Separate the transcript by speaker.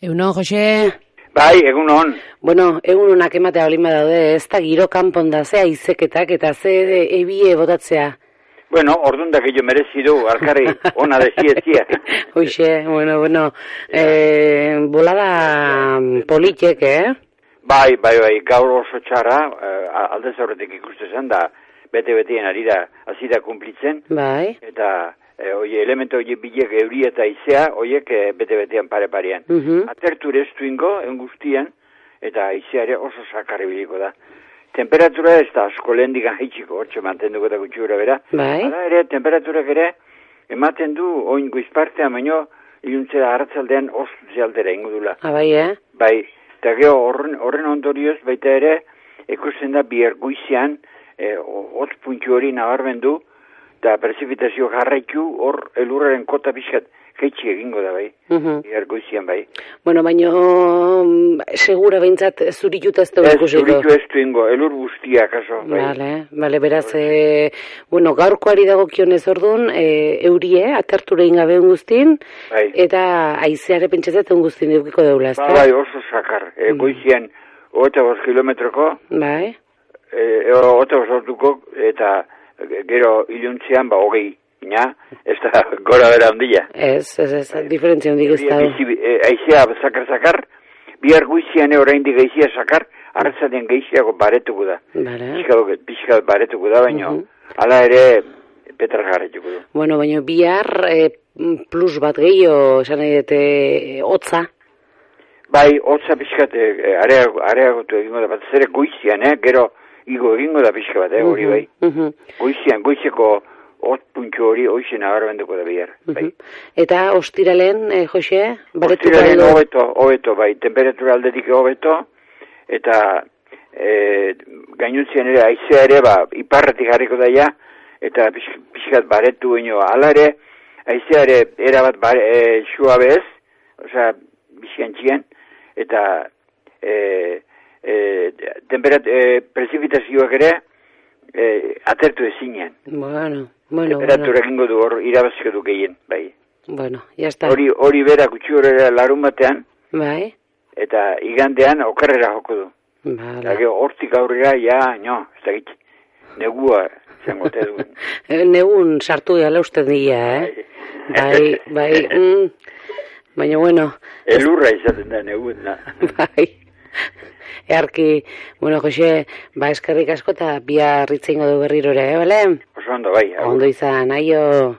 Speaker 1: Eunon, Jose,
Speaker 2: Bai, egun hon.
Speaker 1: bueno, egun honak ematea olin badaude, ez da giro kanpon da, ze aizeketak eta ze e, ebie botatzea.
Speaker 2: Bueno, ordun da gehiago merezi du, alkarri ona desiezia.
Speaker 1: Hoxe, bueno, bueno, e, bolada politek, eh?
Speaker 2: Bai, bai, bai, gaur oso txarra, eh, alde zaurretik ikustezen da, bete-betien ari da, hasi da kumplitzen,
Speaker 1: Bai,
Speaker 2: eta e, oie, elemento oie bilek euri eta izea, oiek eh, bete-betean pare-parean.
Speaker 1: Mhm.
Speaker 2: Atertu ere estu ingo, guztian, eta izea ere oso sakarri biliko da. Temperatura ez da asko lehen digan heitxiko, hortxe mantenduko eta gutxi gura bera.
Speaker 1: bai,
Speaker 2: Hala ere, temperaturak ere, ematen du, oin guizpartean, baino, iluntzera hartzaldean ostu zealdera ingudula.
Speaker 1: abai, eh?
Speaker 2: Bai, eta geho, horren, horren ondorioz, baita ere, ikusten da bihar guizean, e, hotz puntu hori nabarmen du, eta prezipitazio jarraitu, hor elurraren kota pixkat, jeitsi egingo da bai,
Speaker 1: Mhm.
Speaker 2: bihar goizian bai.
Speaker 1: Bueno, baino, mm, segura behintzat zuritut ez dugu
Speaker 2: Ez,
Speaker 1: ikusiko.
Speaker 2: zuritu ez duingo, elur guztia, kaso, bai.
Speaker 1: Bale, bale, beraz, e, bueno, gaurkoari dagokionez ordun, e, eurie, atertura ingabe guztin,
Speaker 2: Bai.
Speaker 1: eta aizeare pentsatzen guztin edukiko deula,
Speaker 2: Ba,
Speaker 1: ezta? Mm.
Speaker 2: bai, oso sakar, e, goizian, hogeita bost kilometroko,
Speaker 1: Bai,
Speaker 2: e, ote sortuko eta gero iluntzean ba hogei, ina, ez da gora bera ondila.
Speaker 1: ez, ez,
Speaker 2: Bai.
Speaker 1: ez, diferentzia hondik ez da.
Speaker 2: Bizi- e, Aizea zakar-zakar, bihar guizian e, oraindik gaizia sakar, hartzaten geiziago baretuko da.
Speaker 1: Bale.
Speaker 2: Pixka, pixka bat baretuko da, baino, hala ere petar jarretuko du.
Speaker 1: Bueno, baina bihar e, plus bat gehiago, esan nahi dute, e, hotza.
Speaker 2: Bai, hotza pixkat e, areago- areagotu egingo da, bat ere goizian, eh, gero igo egingo da pixka bat, eh, hori bai.
Speaker 1: Mhm.
Speaker 2: Goizian, goizeko hot puntxo hori hoizen agarbenduko da bihar, bai.
Speaker 1: Eta ostiralen, e, Jose, baretu
Speaker 2: Ostiralean hobeto, hobeto bai, temperatura aldetik hobeto, eta e, gainuntzien ere, aizea ere, ba, iparratik harriko daia, eta pix- pixkat baretu ino, ala ere, aizea ere, erabat bare, e, suabe ez, osea, bizkantxien, eta e, e, temperat, e, prezipitazioak ere, e, atertu ezinen.
Speaker 1: Bueno, bueno, bueno,
Speaker 2: Temperatura egingo du hor, irabaziko du gehien, bai.
Speaker 1: bueno, ya está.
Speaker 2: Hori, hori bera gutxi horrela larun batean,
Speaker 1: Bai,
Speaker 2: eta igandean okerrera joko du. Eta
Speaker 1: bale.
Speaker 2: gero hortik aurrera, ja, no, ez dakit, negua zengo te du.
Speaker 1: E, Negun sartu gala uste dira, eh? Bai, bai, mm, baina bueno,
Speaker 2: Elurra izaten da negun, na.
Speaker 1: bai. Earki, bueno, Jose, ba, eskerrik asko eta bihar hitz egingo du berriro ere, eh, bale?
Speaker 2: Oso ondo, bai, agur.
Speaker 1: Ondo izan, aio.